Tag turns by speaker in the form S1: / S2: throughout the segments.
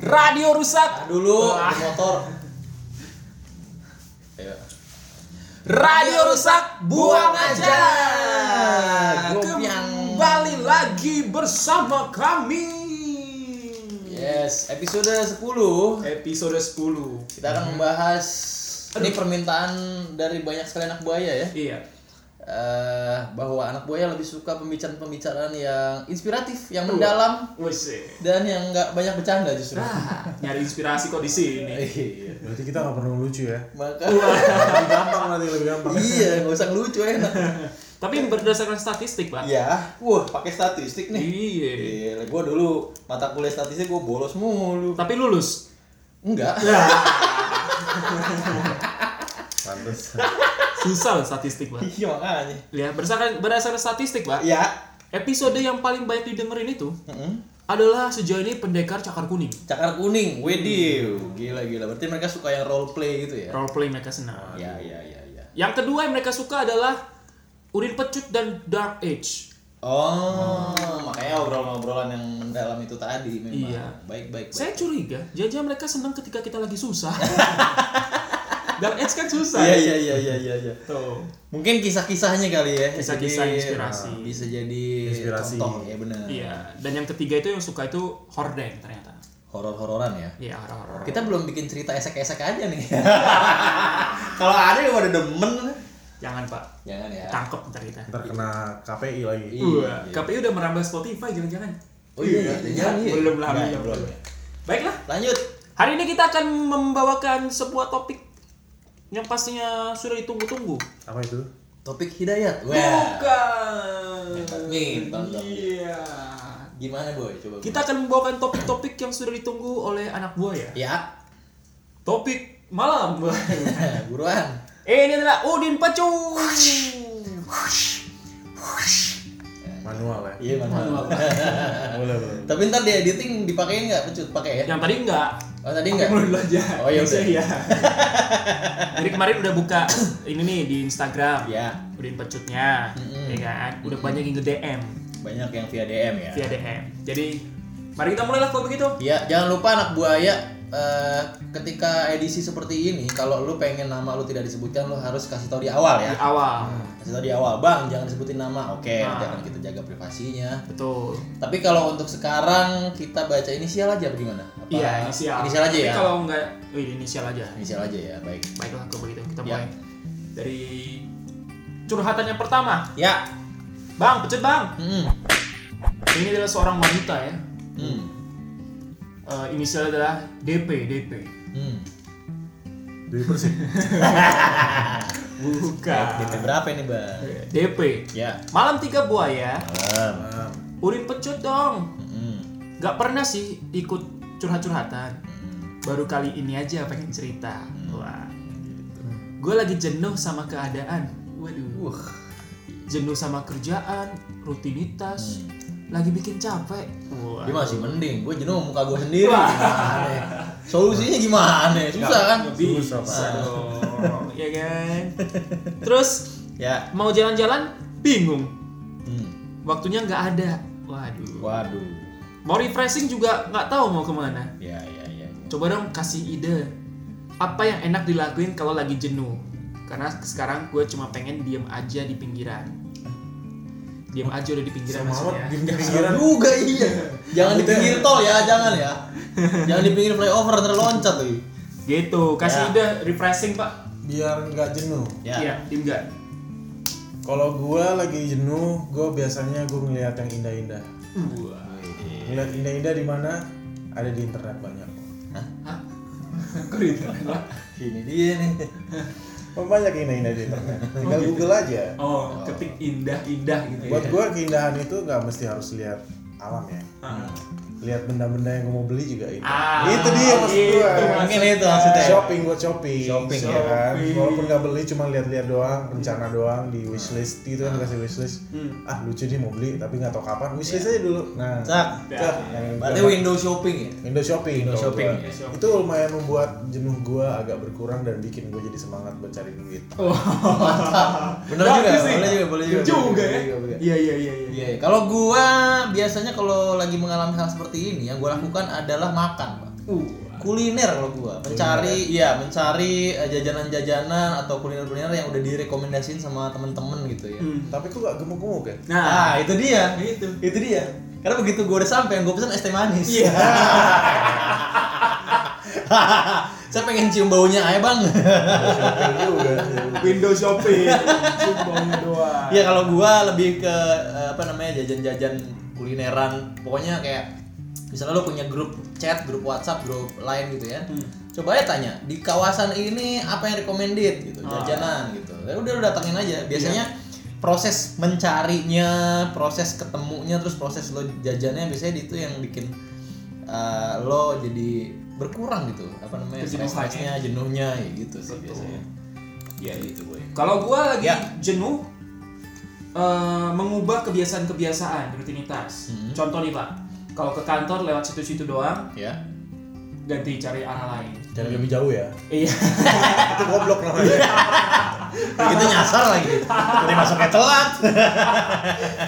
S1: Radio rusak Nah, dulu motor. Radio rusak buang aja. Kembali lagi bersama kami.
S2: Yes, episode 10
S1: Episode 10.
S2: kita akan membahas ini permintaan dari banyak sekali anak buaya ya.
S1: Iya.
S2: Eh, bahwa anak buaya lebih suka pembicaraan-pembicaraan yang inspiratif, yang mendalam
S1: Wes. eh.
S2: dan yang nggak banyak bercanda justru.
S1: Nyari inspirasi kok di sini.
S2: Iya.
S3: Berarti kita nggak pernah lucu ya?
S2: Maka
S3: lebih gampang nanti lebih gampang.
S2: iya, nggak usah lucu enak.
S1: Tapi berdasarkan statistik, Pak.
S2: Iya, wah pakai statistik nih.
S1: Iya.
S2: Iya, gue dulu mata kuliah statistik gue bolos mulu.
S1: Tapi lulus.
S2: Enggak.
S3: Iya. Pantes.
S1: Susah loh statistik, Pak.
S2: Iya makanya.
S1: Ya, berdasarkan berdasarkan statistik, Pak.
S2: Iya.
S1: Episode yang paling banyak didengerin itu
S2: Mm-mm.
S1: adalah sejauh ini pendekar cakar kuning.
S2: Cakar kuning, wediw, gila gila. Berarti mereka suka yang role play gitu ya?
S1: Roleplay mereka senang.
S2: Ya ya ya ya.
S1: Yang kedua yang mereka suka adalah Urin Pecut dan Dark Age.
S2: Oh, makanya obrolan-obrolan yang mendalam itu tadi memang.
S1: Iya.
S2: Baik baik. baik.
S1: Saya curiga, jangan mereka senang ketika kita lagi susah. Dark Age kan susah. Gitu.
S2: Iya iya iya iya iya. iya.
S1: Tuh.
S2: Mungkin kisah-kisahnya kali ya.
S1: Kisah-kisah
S2: Jadi,
S1: inspirasi.
S2: nah, Bisa jadi
S3: Inspirasi.
S2: contoh ya benar.
S1: Iya, dan yang ketiga itu yang suka itu horden ternyata.
S2: Horor-hororan ya.
S1: Iya, horor-horor.
S2: Kita belum bikin cerita esek-esek aja nih. Kalau ada yang udah demen,
S1: Jangan, Pak.
S2: jangan ya.
S1: Tangkep ntar kita.
S3: Ntar kena KPI lagi.
S2: Iya.
S1: Wah, KPI udah merambah Spotify jangan-jangan.
S2: Oh iya, iya, jangan iya.
S1: Belum lah,
S2: Nggak,
S1: belum.
S2: belum.
S1: Baiklah,
S2: Lanjut.
S1: hari ini kita akan membawakan sebuah topik yang pastinya sudah ditunggu-tunggu.
S3: Apa itu?
S2: Topik hidayat. Wah.
S1: Bukan.
S2: Minta, minta.
S1: Iya.
S2: Gimana boy? Coba. Boy.
S1: Kita akan membawakan topik-topik yang sudah ditunggu oleh anak buaya.
S2: Ya.
S1: Topik malam. Eh,
S2: Buruan.
S1: Ini adalah Udin Pecu.
S3: Manual ya?
S2: Iya manual.
S3: Boleh boleh.
S2: Tapi ntar di editing dipakein nggak pecut? Pakai ya?
S1: Yang tadi enggak.
S2: Oh tadi nggak?
S1: Mulai dulu aja.
S2: Oh, iya,
S1: Biasa,
S2: udah.
S1: iya. Jadi kemarin udah buka eh, ini nih di Instagram.
S2: Iya.
S1: Udin Pecutnya,
S2: Mm-mm.
S1: ya kan? Udah banyak yang nge-DM
S2: Banyak yang via DM ya.
S1: via DM. Jadi mari kita mulailah kalau begitu.
S2: Iya. Jangan lupa anak buaya. eh, ketika edisi seperti ini, kalau lu pengen nama lu tidak disebutkan, lu harus kasih tahu di awal
S1: Di
S2: ya.
S1: awal.
S2: Kasih tahu di awal, bang. Jangan disebutin nama. Oke,
S1: Ah.
S2: nanti akan kita jaga privasinya.
S1: Betul.
S2: Tapi kalau untuk sekarang kita baca inisial aja bagaimana? Apa-
S1: Iya, inisial.
S2: Inisial aja
S1: Tapi
S2: ya.
S1: Kalau enggak, eh, inisial aja.
S2: Inisial aja ya, baik.
S1: Baiklah kalau begitu kita
S2: Iya.
S1: mulai dari curhatan yang pertama.
S2: Ya.
S1: Bang, pecut bang.
S2: Hmm.
S1: Ini adalah seorang wanita ya.
S2: Hmm.
S1: Eh, inisialnya adalah DP, DP.
S2: Hmm.
S3: Dewi Persik.
S2: DP
S1: Bukan.
S2: berapa nih, Bang?
S1: DP.
S2: Ya.
S1: Malam tiga buaya,
S2: Malam.
S3: Malam.
S1: urin pecut dong.
S2: Hmm.
S1: Gak pernah sih ikut curhat-curhatan. Baru kali ini aja pengen cerita. Wah. Gue lagi jenuh sama keadaan. Waduh. Jenuh sama kerjaan, rutinitas, lagi bikin capek. Wah.
S2: Dia masih mending, gue jenuh muka gue sendiri. Gimana ya? Solusinya gimana? ya? Susah kan?
S1: Bisa
S3: Susah, Pak.
S1: dong, ya kan? Terus
S2: Ya.
S1: mau jalan-jalan bingung.
S2: Hmm.
S1: Waktunya nggak ada. Waduh.
S2: Waduh.
S1: Mau refreshing juga nggak tahu mau kemana.
S2: Ya, ya, ya. ya.
S1: Coba dong kasih ide apa yang enak dilakuin kalau lagi jenuh. Karena sekarang gue cuma pengen diem aja di pinggiran. Diem aja udah di pinggiran
S3: Sama amat
S1: maksudnya.
S3: di
S2: Bener
S3: pinggiran.
S2: juga iya. Jangan di pinggir tol ya, jangan ya. Jangan di pinggir flyover ntar loncat tuh.
S1: Gitu, kasih
S2: Ya.
S1: ide refreshing pak.
S3: Biar nggak jenuh.
S2: Ya.
S1: Iya, diem nggak?
S3: Kalau gua lagi jenuh, gua biasanya gua ngeliat yang indah-indah.
S1: Wah.
S2: Iya.
S3: Ngeliat indah-indah di mana? Ada di
S1: gitu?
S3: internet banyak.
S2: Ini dia nih.
S3: Oh, banyak indah-indah di internet. Tinggal Google aja.
S1: Oh, ketik indah-indah gitu ya.
S3: Buat gue keindahan itu nggak mesti harus lihat alam ya.
S1: Ah.
S3: Lihat benda-benda yang gue mau beli juga indah.
S1: Ah,
S3: itu dia maksud
S1: gitu
S3: gue.
S2: Mungkin itu maksudnya.
S3: Shopping buat shopping.
S2: Shopping,
S3: ya kan.
S1: shopping.
S3: Walaupun nggak beli, cuma lihat-lihat doang, rencana doang di wishlist gitu kan dikasih wishlist.
S1: Hmm.
S3: Ah lucu nih mau beli, tapi nggak tahu kapan. Wishlist aja dulu. Nah,
S2: Cak.
S3: cak. Yang
S2: Berarti
S3: dapat.
S2: window shopping ya?
S3: Window shopping.
S2: Window
S3: kalau
S2: shopping,
S3: gua.
S2: ya.
S3: Itu lumayan membuat jenuh gua agak berkurang dan bikin gua jadi semangat buat cari duit.
S2: Oh. Bener
S1: Bagus
S2: juga,
S1: nih.
S2: boleh juga, boleh juga.
S1: Nah, Juga ya.
S2: Boleh juga, boleh juga.
S1: Iya, iya, iya, iya.
S2: Iya, kalau gua biasanya kalau lagi mengalami hal seperti ini yang gua lakukan adalah makan, Pak.
S1: Uh.
S2: Kuliner kalau gua, mencari iya, mencari eh, jajanan-jajanan atau kuliner-kuliner yang udah direkomendasiin sama temen-temen gitu ya.
S1: Hmm.
S3: Tapi kok gak gemuk-gemuk ya?
S1: Nah,
S2: Nah, itu dia.
S1: Itu.
S2: Itu dia. Karena begitu gue udah sampai, yang gue pesan es teh manis.
S1: Iya.
S2: Saya pengen cium baunya aja bang.
S3: Shopping juga.
S1: window shopping. Cuma doang.
S2: Iya kalau gue lebih ke eh, apa namanya jajan-jajan kulineran. Pokoknya kayak misalnya lo punya grup chat, grup WhatsApp, grup lain gitu ya. Coba aja tanya di kawasan ini apa yang recommended gitu jajanan gitu. Ya udah lo datangin aja. Biasanya proses mencarinya, proses ketemunya, terus proses lo jajannya biasanya itu yang bikin eh, lo jadi berkurang gitu apa namanya
S1: Kejenuhan,
S2: stres-stresnya jenuhnya ya gitu sih biasanya
S1: Iya, iya.
S2: gitu gue
S1: Kalau gua lagi
S2: Ya.
S1: jenuh eh, mengubah kebiasaan-kebiasaan rutinitas.
S2: Hmm.
S1: Contoh nih, Pak. Kalau ke kantor lewat situ-situ doang,
S2: ya
S1: ganti cari arah lain.
S3: Cari lebih jauh ya.
S1: Iya.
S3: Itu goblok namanya.
S2: kita nyasar lagi udah masuknya telat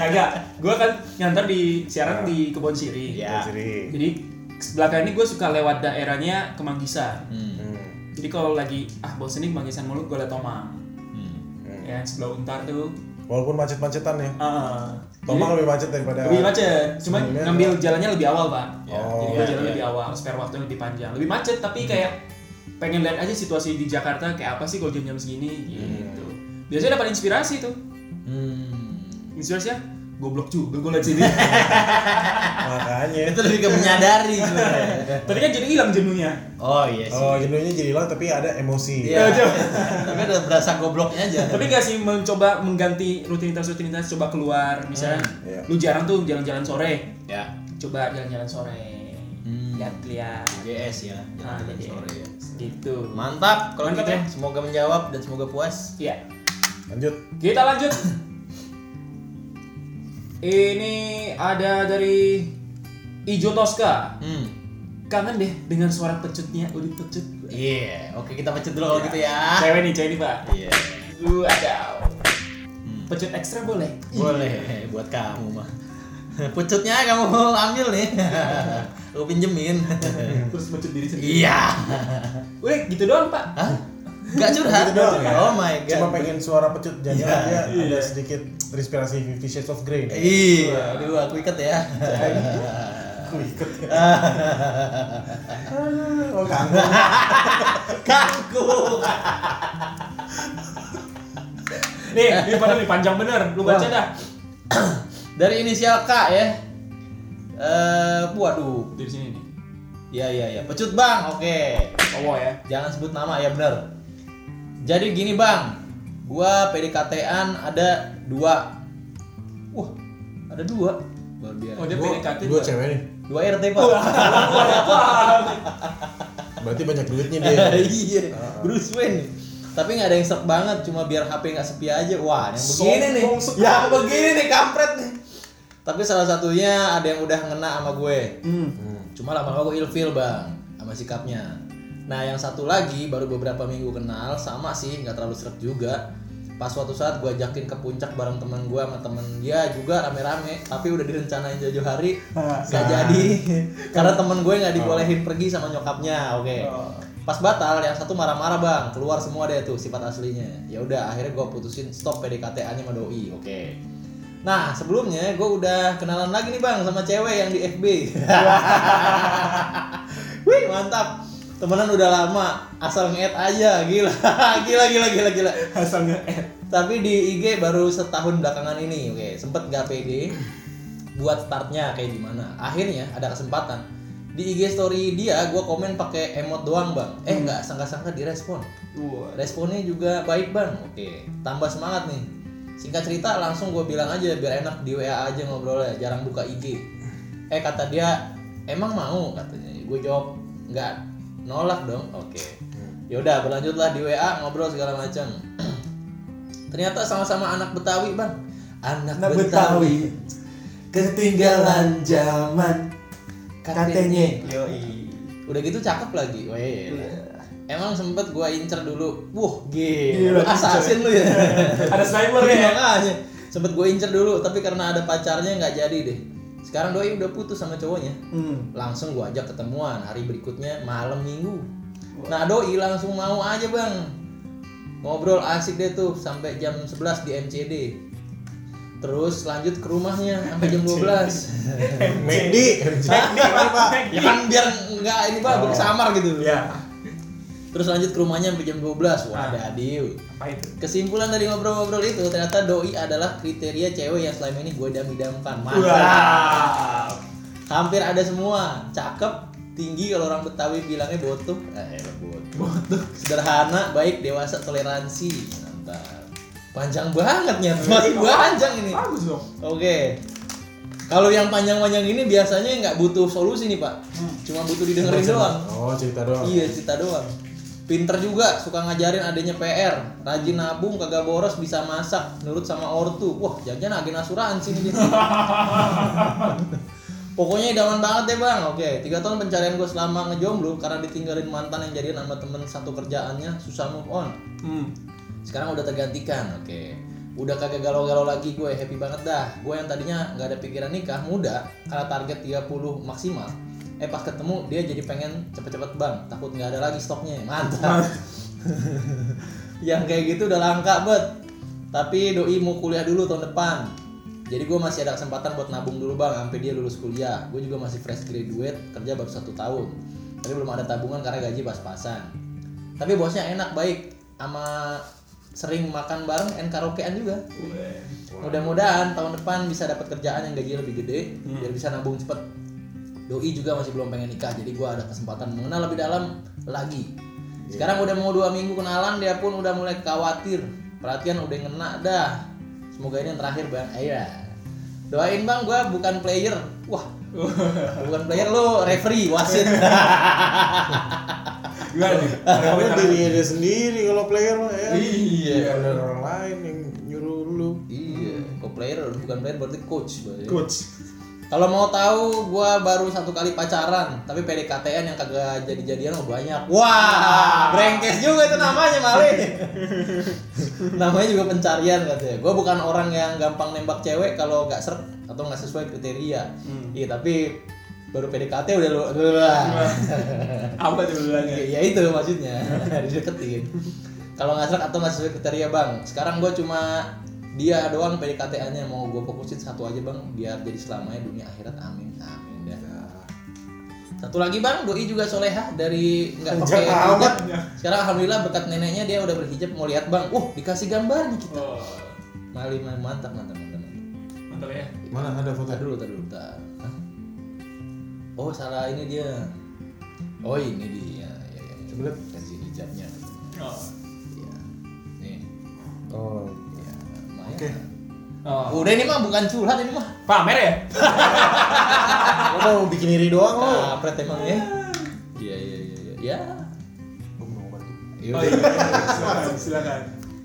S1: Kagak. Gua kan nyantar di siaran di Kebon Siri.
S2: Iya.
S3: Ciri.
S1: Jadi belakangan ini gue suka lewat daerahnya Kemanggisan.
S2: hmm.
S3: Hmm.
S1: Jadi kalau lagi ah bosen nih Kemanggisan mulu gue liat Tomang.
S2: Hmm.
S3: Hmm.
S1: Ya sebelah Untar tuh.
S3: Walaupun macet-macetan ya.
S1: Heeh.
S2: Ah, Iya.
S3: Tomang lebih macet daripada
S1: lebih macet, cuman
S3: Sebelumnya
S1: ngambil jalannya lebih awal pak. Jadi
S2: Ya,
S3: Oh,
S1: gue
S2: iya,
S1: jalan
S2: iya. Hmm.
S1: lebih awal, spare waktunya lebih panjang, lebih macet tapi kayak pengen lihat aja situasi di Jakarta kayak apa sih kalau jam-jam segini gitu. Biasanya dapat inspirasi tuh,
S2: Hmm.
S1: inspirasinya goblok juga gue liat sini.
S3: makanya.
S2: itu lebih ke menyadari sebenarnya
S1: Tapi kan jadi hilang jenuhnya.
S2: oh iya sih
S3: Oh, jenuhnya jadi hilang tapi ada emosi.
S2: Iya.
S1: Aduh.
S2: tapi udah berasa gobloknya aja
S1: Tapi gak sih mencoba mengganti rutinitas-rutinitas coba keluar misalnya
S2: Hmm,
S3: iya.
S1: lu jarang tuh jalan-jalan sore,
S2: ya
S1: coba jalan-jalan sore.
S2: Hmm.
S1: Lihat-lihat
S2: GS ya
S1: Ah,
S2: jalan-jalan
S1: GS.
S2: sore ya
S1: gitu.
S2: mantap kalau
S1: Mantap
S2: gitu
S1: ya.
S2: semoga menjawab dan semoga puas
S1: Iya.
S3: Lanjut.
S1: Kita lanjut. Ini ada dari Ijo Tosca.
S2: hmm
S1: Kangen deh dengan suara pecutnya, udah pecut.
S2: iya oke kita pecet dulu kalau gitu ya
S1: Cewek nih, cewek nih pak.
S2: iya
S1: Uh, ada.
S2: Hmm.
S1: Pecut ekstra boleh.
S2: Boleh buat kamu mah. Pucutnya kamu ambil nih. Aku pinjemin.
S1: Terus pecut diri sendiri.
S2: Iya.
S1: Udah gitu doang pak.
S2: Hah? Gak curhat.
S3: Itu doang ya.
S2: Oh my god.
S3: Cuma pengen suara pecut jangan
S2: Iya.
S3: dia ada sedikit terinspirasi Fifty Shades of Grey. nih.
S2: Iya, aduh aku ikat ya.
S3: Aku ikut ya. Oh, kangen.
S2: Kaku.
S1: Nih, ini pada nih panjang bener. Lu baca dah.
S2: Dari inisial K ya. Eh, waduh.
S1: Dari sini nih.
S2: Iya iya iya. Pecut bang, oke.
S1: Cowok ya.
S2: Jangan sebut nama ya bener Jadi gini bang, gua PDKT-an ada dua. Wah, ada dua. Luar biasa.
S1: Oh dia Oh,
S3: Gua-
S1: PDKT
S3: gua
S1: juga.
S3: cewek nih.
S2: Dua RT pak.
S3: Berarti banyak duitnya dia.
S2: iya.
S1: Ah.
S2: Bruce Wayne. Tapi nggak ada yang sek banget, cuma biar HP nggak sepi aja. Wah, yang begini nih.
S1: Sombong sekali.
S2: Yang begini nih kampret nih. Tapi salah satunya ada yang udah ngena sama gue.
S1: Hmm.
S2: Cuma lama-lama gue ilfil bang sama sikapnya. Nah yang satu lagi baru beberapa minggu kenal sama sih nggak terlalu seret juga. Pas suatu saat gue ajakin ke puncak bareng teman gue sama temen dia juga rame-rame. Tapi udah direncanain jauh hari nggak jadi karena temen gue nggak dibolehin pergi sama nyokapnya. Oke. Pas batal yang satu marah-marah bang keluar semua deh tuh sifat aslinya. Ya udah akhirnya gue putusin stop PDKT-annya sama doi. Oke. Nah sebelumnya gue udah kenalan lagi nih bang sama cewek yang di FB. Wih mantap. Temenan udah lama, asal nge-add aja, gila, gila, gila, gila, gila.
S1: Asal nge-add.
S2: Tapi di IG baru setahun belakangan ini, oke, sempet gak pede buat startnya kayak gimana. Akhirnya ada kesempatan, di IG story dia gue komen pakai emot doang bang eh nggak sangka-sangka direspon
S1: Wah.
S2: responnya juga baik bang oke tambah semangat nih singkat cerita langsung gue bilang aja biar enak di WA aja ngobrolnya jarang buka IG eh kata dia emang mau katanya gue jawab nggak nolak dong oke yaudah berlanjutlah di WA ngobrol segala macam ternyata sama-sama anak Betawi bang anak,
S3: Anak
S2: Betawi.
S3: Betawi ketinggalan zaman katanya.
S1: Yoi.
S2: Udah gitu cakep lagi. Weh.
S1: Iya.
S2: Emang sempet gua incer dulu. Wuh,
S3: Gila,
S2: gila. Assassin lu ya.
S1: Iya,
S2: Iya,
S1: Ada sniper ya.
S2: Makanya sempet gua incer dulu, tapi karena ada pacarnya nggak jadi deh. Sekarang doi udah putus sama cowoknya.
S1: Hmm.
S2: Langsung gua ajak ketemuan hari berikutnya malam minggu. Nah, doi langsung mau aja, Bang. Ngobrol asik deh tuh sampai jam 11 di MCD. Terus lanjut ke rumahnya sampai jam 12.
S3: Medi,
S2: ya kan biar nggak ini pak bersamar gitu
S1: Ya.
S2: terus lanjut ke rumahnya sampai jam 12 wah ada adiu
S1: Apa itu?
S2: kesimpulan dari ngobrol-ngobrol itu ternyata doi adalah kriteria cewek yang selama ini gue idam-idamkan
S1: Wah.
S2: mantap hampir ada semua cakep tinggi kalau orang Betawi bilangnya botuk eh botuk botuk sederhana baik dewasa toleransi mantap panjang banget nih masih panjang ini
S1: Bagus dong.
S2: Oke. Kalau yang panjang-panjang ini biasanya nggak butuh solusi nih pak, cuma butuh didengerin doang.
S3: Oh cerita doang.
S2: Iya cerita doang. Pinter juga, suka ngajarin adanya PR, rajin nabung, kagak boros, bisa masak, nurut sama ortu. Wah, jangan agen asuransi nih. dia. Pokoknya idaman banget deh bang. Oke, tiga tahun pencarian gue selama ngejomblo karena ditinggalin mantan yang jadian sama temen satu kerjaannya susah move on
S1: Hmm.
S2: sekarang udah tergantikan oke udah kagak galau-galau lagi gue happy banget dah gue yang tadinya nggak ada pikiran nikah muda karena target 30 maksimal eh pas ketemu dia jadi pengen cepet-cepet bang takut nggak ada lagi stoknya mantap yang kayak gitu udah langka bet tapi doi mau kuliah dulu tahun depan jadi gue masih ada kesempatan buat nabung dulu bang sampai dia lulus kuliah gue juga masih fresh graduate kerja baru satu tahun tapi belum ada tabungan karena gaji pas-pasan tapi bosnya enak baik sama sering makan bareng and karaokean juga mudah-mudahan tahun depan bisa dapat kerjaan yang gaji lebih gede biar bisa nabung cepet doi juga masih belum pengen nikah jadi gua ada kesempatan mengenal lebih dalam lagi sekarang udah mau dua minggu kenalan dia pun udah mulai khawatir perhatian udah ngena dah semoga ini yang terakhir bang iya doain bang gua bukan player wah bukan player lo referee wasit
S1: Gimana nih?
S3: Karena diri dia sendiri kalau player mah ya.
S2: Iya.
S3: Nggak Ada orang lain yang nyuruh lu.
S2: Iya, kok player bukan player berarti coach berarti.
S1: Coach.
S2: Kalau mau tahu, gua baru satu kali pacaran, tapi PDKT-an yang kagak jadi-jadian mah banyak. Wah, brengkes juga itu namanya Mali. namanya juga pencarian katanya. Gua bukan orang yang gampang nembak cewek kalau nggak serk atau nggak sesuai kriteria. Iya, tapi baru PDKT udah lu.
S1: Apa tuh bilangnya?
S2: Ya, ya itu maksudnya dideketin. Kalau nggak serak atau nggak sesuai kriteria bang. Sekarang gue cuma dia doang PDKT-annya mau gue fokusin satu aja bang biar jadi selamanya dunia akhirat amin amin dah. Satu lagi bang, doi juga soleha dari nggak
S3: Panjang
S2: pakai
S3: amat.
S2: hijab. Sekarang alhamdulillah berkat neneknya dia udah berhijab mau lihat bang. Uh dikasih gambarnya kita.
S1: Oh,
S2: Mali mali, mantap mantap mantap.
S1: mantap ya.
S3: Mana ada foto?
S2: Tar dulu tar dulu tar. Hah? Oh salah ini dia. Oh ini dia. Ya, ya, ya.
S3: Sebelah.
S2: kasih hijabnya.
S1: Oh.
S2: Iya. Nih.
S3: Oh.
S2: Iya.
S3: Oke.
S1: Oh.
S2: Udah ini mah bukan curhat ini mah.
S1: Pamer ya?
S3: Lo mau bikin iri doang lo.
S2: Kampret emang ya. Iya iya iya iya. Ya.
S3: Gua mau bantu.
S1: Oh iya. Silakan, Silakan.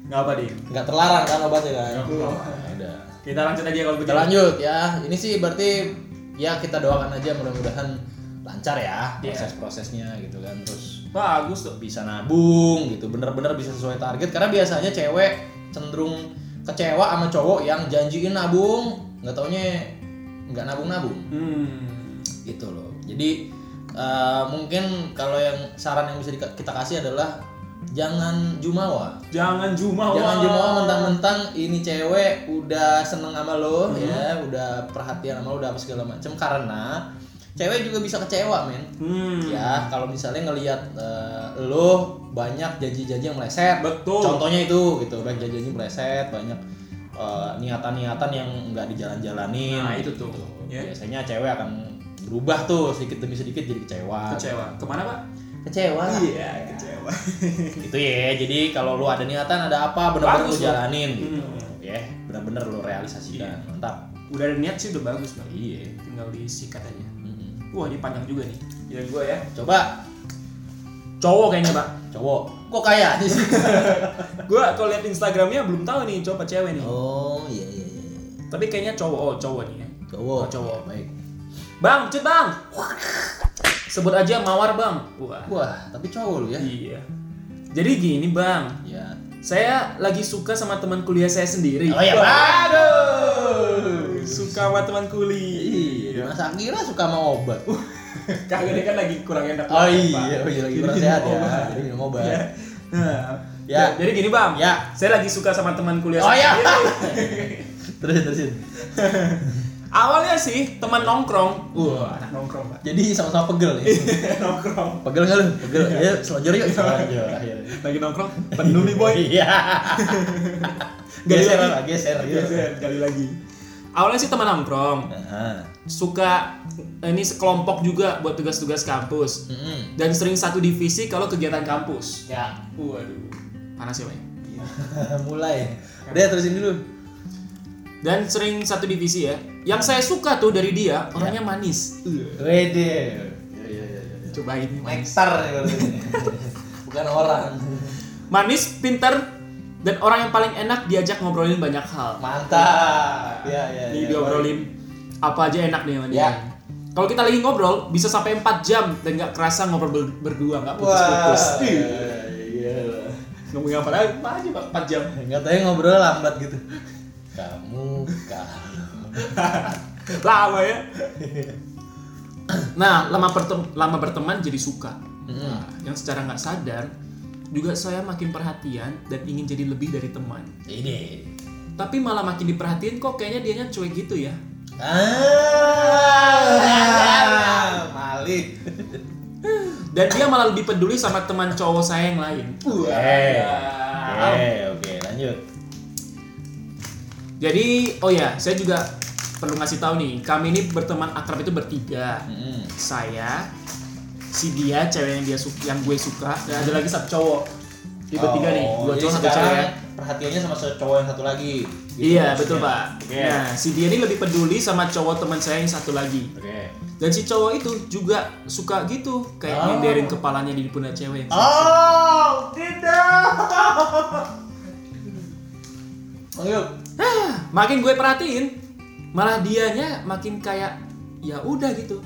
S1: Enggak apa, Dik.
S2: Enggak terlarang kan obatnya kan.
S3: Iya.
S1: Nggak
S2: Udah.
S1: Kita lanjut aja kalau
S2: Kita
S1: begitu.
S2: lanjut ya. Ini sih berarti ya kita doakan aja mudah-mudahan lancar ya
S1: Iya.
S2: proses-prosesnya gitu kan terus
S1: Bagus tuh.
S2: bisa nabung gitu bener-bener bisa sesuai target karena biasanya cewek cenderung kecewa sama cowok yang janjiin nabung nggak taunya nggak nabung-nabung
S1: Hmm.
S2: gitu loh jadi eh, mungkin kalau yang saran yang bisa dika- kita kasih adalah jangan jumawa
S1: Jangan jumawa.
S2: jangan jumawa mentang-mentang ini cewek udah seneng sama lo
S1: Hmm.
S2: ya udah perhatian sama lo udah apa segala macem karena cewek juga bisa kecewa men
S1: Hmm.
S2: ya kalau misalnya ngelihat eh, lo banyak janji-janji yang meleset
S1: Betul.
S2: contohnya itu gitu banyak janji-janji meleset banyak eh, niatan-niatan yang nggak dijalan-jalanin
S1: Nah, itu tuh.
S2: gitu.
S1: Ya.
S2: biasanya cewek akan berubah tuh sedikit demi sedikit jadi kecewa
S1: Kecewa. Kemana pak?
S2: kecewa lah.
S3: Iya, kecewa.
S2: gitu ya jadi kalau lu ada niatan ada apa bener-bener lu
S1: Bagus,
S2: jalanin gitu
S1: Hmm. Iya.
S2: ya bener-bener lu realisasikan mantap
S1: Udah ada niat sih udah bagus pak.
S2: iya
S1: Tinggal disikat aja.
S2: Mm-mm.
S1: Wah ini panjang juga nih. Ya gue ya.
S2: coba
S1: Cowok kayaknya pak.
S2: cowok kok kaya sih
S1: gue kalau lihat Instagramnya belum tahu nih cowok apa cewek nih.
S2: oh iya iya iya iya.
S1: Tapi kayaknya cowok. Oh cowok nih ya.
S2: cowok
S1: Oh, cowok.
S2: Ya, baik
S1: Bang, cut bang. Sebut aja mawar bang. Wah.
S2: wah tapi cowok lu ya
S1: Iya. Jadi gini bang,
S2: ya
S1: saya lagi suka sama teman kuliah saya sendiri.
S2: oh ya
S1: Aduh, suka sama teman
S2: Iya,
S1: kuliah.
S2: Mas Akira suka mau obat.
S1: Kagak dia kan lagi kurang enak.
S2: Iya. Oh
S1: banget,
S2: iya,
S1: Bang.
S2: oh iya lagi
S1: Jadi
S2: kurang
S1: minum
S2: sehat ya.
S1: obat.
S2: Jadi minum obat.
S1: Iya. Nah,
S2: Ya.
S1: ya. Jadi gini bang,
S2: Ya.
S1: saya lagi suka sama teman kuliah
S2: Oh
S1: saya
S2: iya.
S1: sendiri.
S2: terusin terusin.
S1: Awalnya sih teman nongkrong. Wah, anak nongkrong pak.
S2: Jadi sama-sama pegel ya.
S1: nongkrong.
S2: Pegel nggak lu? Pegel. Ya, selonjor yuk. Selonjor. akhirnya.
S1: Lagi nongkrong, penuh nih boy.
S2: Iya. Geser lah, geser. Iya.
S1: Geser, Iya, Gali lagi. Awalnya sih teman nongkrong,
S2: Heeh.
S1: suka eh, ini sekelompok juga buat tugas-tugas kampus dan sering satu divisi kalau kegiatan kampus.
S2: Ya.
S1: Waduh, panas ya, Pak.
S2: Mulai. Udah terusin dulu.
S1: Dan sering satu divisi ya. Yang saya suka tuh dari dia,
S2: Iya.
S1: orangnya manis.
S2: Wede. Iya iya iya.
S1: Coba ini manis.
S2: Nektar ya, berarti. Bukan orang.
S1: Manis, pinter, dan orang yang paling enak diajak ngobrolin banyak hal.
S2: Mantap. Iya iya.
S1: Ini
S2: iya.
S1: diobrolin apa aja enak nih sama dia.
S2: Ya.
S1: Kalau kita lagi ngobrol bisa sampai 4 jam dan nggak kerasa ngobrol ber- berdua nggak putus-putus.
S2: Wah.
S1: Ih,
S2: Iya.
S1: Ngomongin apa lagi? Apa aja Pak? 4 jam.
S2: Enggak tahu ya, ngobrol lambat gitu. Kamu kalau
S1: lama ya nah lama bertem- lama berteman jadi suka Nah, yang secara nggak sadar juga saya makin perhatian dan ingin jadi lebih dari teman
S2: ini.
S1: tapi malah makin diperhatiin kok kayaknya dianya cuek gitu ya
S2: Ah, Malik.
S1: dan dia malah lebih peduli sama teman cowok saya yang lain
S2: Oke. Oke, Eh, oke, lanjut.
S1: jadi oh ya saya juga perlu ngasih tahu nih kami ini berteman akrab itu bertiga
S2: Mm-mm.
S1: saya si dia cewek yang dia su- yang gue suka dan ada lagi satu cowok itu bertiga nih
S2: Oh,
S1: dua
S2: jadi
S1: cowok satu
S2: sekarang
S1: cewek
S2: Perhatiannya sama se- cowok yang satu lagi. gitu
S1: Iya
S2: maksudnya.
S1: betul pak.
S2: Oke.
S1: Nah si dia ini lebih peduli sama cowok teman saya yang satu lagi.
S2: Oke.
S1: Dan si cowok itu juga suka gitu kayak
S2: Oh.
S1: nyenderin kepalanya di pundak cewek. yang-
S2: Oh, tidak. Lanjut.
S1: Hah, makin gue perhatiin, malah dianya makin kayak ya udah gitu.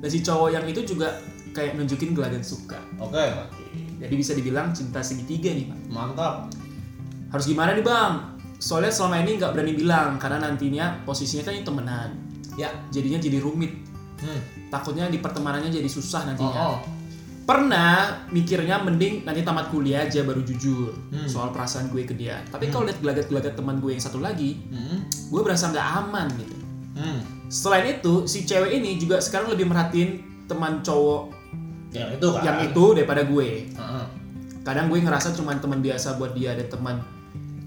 S1: Dan si cowok yang itu juga kayak nunjukin gelagat suka.
S2: Oke.
S1: Jadi bisa dibilang cinta segitiga nih pak.
S2: Mantap.
S1: Harus gimana nih bang? Soalnya selama ini nggak berani bilang karena nantinya posisinya kan ini temenan.
S2: Ya.
S1: Jadinya jadi rumit.
S2: Hmm.
S1: Takutnya di pertemanannya jadi susah
S2: Oh,
S1: nantinya.
S2: oh.
S1: pernah mikirnya mending nanti tamat kuliah aja baru jujur
S2: Hmm.
S1: soal perasaan gue ke dia tapi kalau lihat gelagat-gelagat teman gue yang satu lagi
S2: Hmm.
S1: gue berasa nggak aman gitu
S2: Hmm.
S1: selain itu si cewek ini juga sekarang lebih merhatiin teman cowok
S2: Yang itu kan.
S1: yang itu daripada gue
S2: Heeh.
S1: kadang gue ngerasa cuman teman biasa buat dia dan teman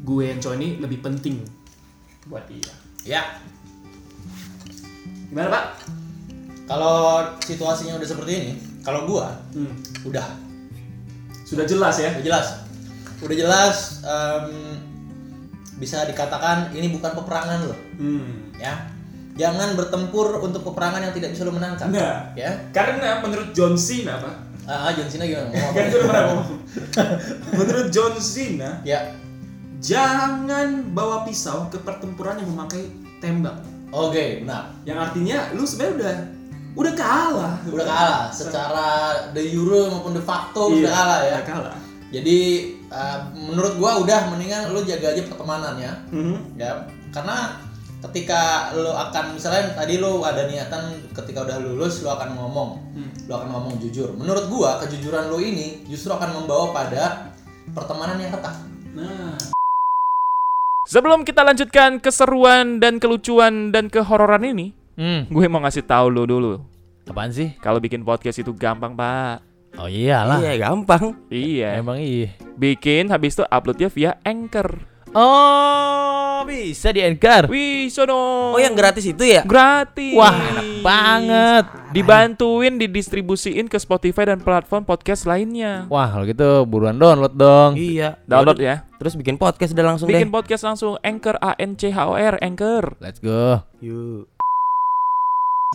S1: gue yang cowok ini lebih penting buat dia
S2: Ya.
S1: gimana pak
S2: Kalau situasinya udah seperti ini, kalau gua
S1: Hmm,
S2: udah
S1: sudah jelas ya
S2: udah jelas, udah jelas em, bisa dikatakan ini bukan peperangan loh,
S1: Hmm.
S2: ya. Jangan bertempur untuk peperangan yang tidak bisa lo menangkan,
S1: Nah.
S2: ya.
S1: karena menurut John Cena pak
S2: Ah, ah, John Cena gimana? Ngomong apa?
S1: Kan itu udah pernah ngomong. menurut John Cena
S2: ya.
S1: jangan bawa pisau ke pertempuran yang memakai tembak
S2: Oke, benar.
S1: yang artinya lu sebenarnya udah udah kalah
S2: Udah kalah secara de jure maupun de facto
S1: Iya,
S2: udah kalah ya.
S1: udah kalah
S2: Jadi eh, menurut gua udah mendingan lo jaga aja pertemanan ya.
S1: Mhm.
S2: ya karena ketika lo akan misalnya tadi lo ada niatan ketika udah lulus lo akan ngomong
S1: Hmm.
S2: lo akan ngomong jujur menurut gua kejujuran lo ini justru akan membawa pada pertemanan yang ketat
S1: nah
S4: Sebelum kita lanjutkan keseruan dan kelucuan dan kehororan ini,
S5: Hmm,
S4: gue mau ngasih tahu lo dulu.
S5: apaan sih?
S4: Kalau bikin podcast itu gampang, Pak.
S5: Oh iyalah.
S6: Iya gampang.
S4: Iya.
S5: Emang iya.
S4: Bikin habis itu uploadnya via Anchor.
S5: Oh, bisa di
S4: Wih, sono.
S6: Oh yang gratis itu ya?
S4: gratis.
S5: Wah, enak banget.
S4: Dibantuin didistribusiin ke Spotify dan platform podcast lainnya.
S5: Wah, kalau gitu buruan download dong.
S6: Iya.
S4: Download
S6: Baru-
S4: ya.
S6: Terus bikin podcast udah langsung
S4: Bikin
S6: deh.
S4: podcast langsung Anchor A N C H O R Anchor.
S5: Let's go.
S6: Yuk.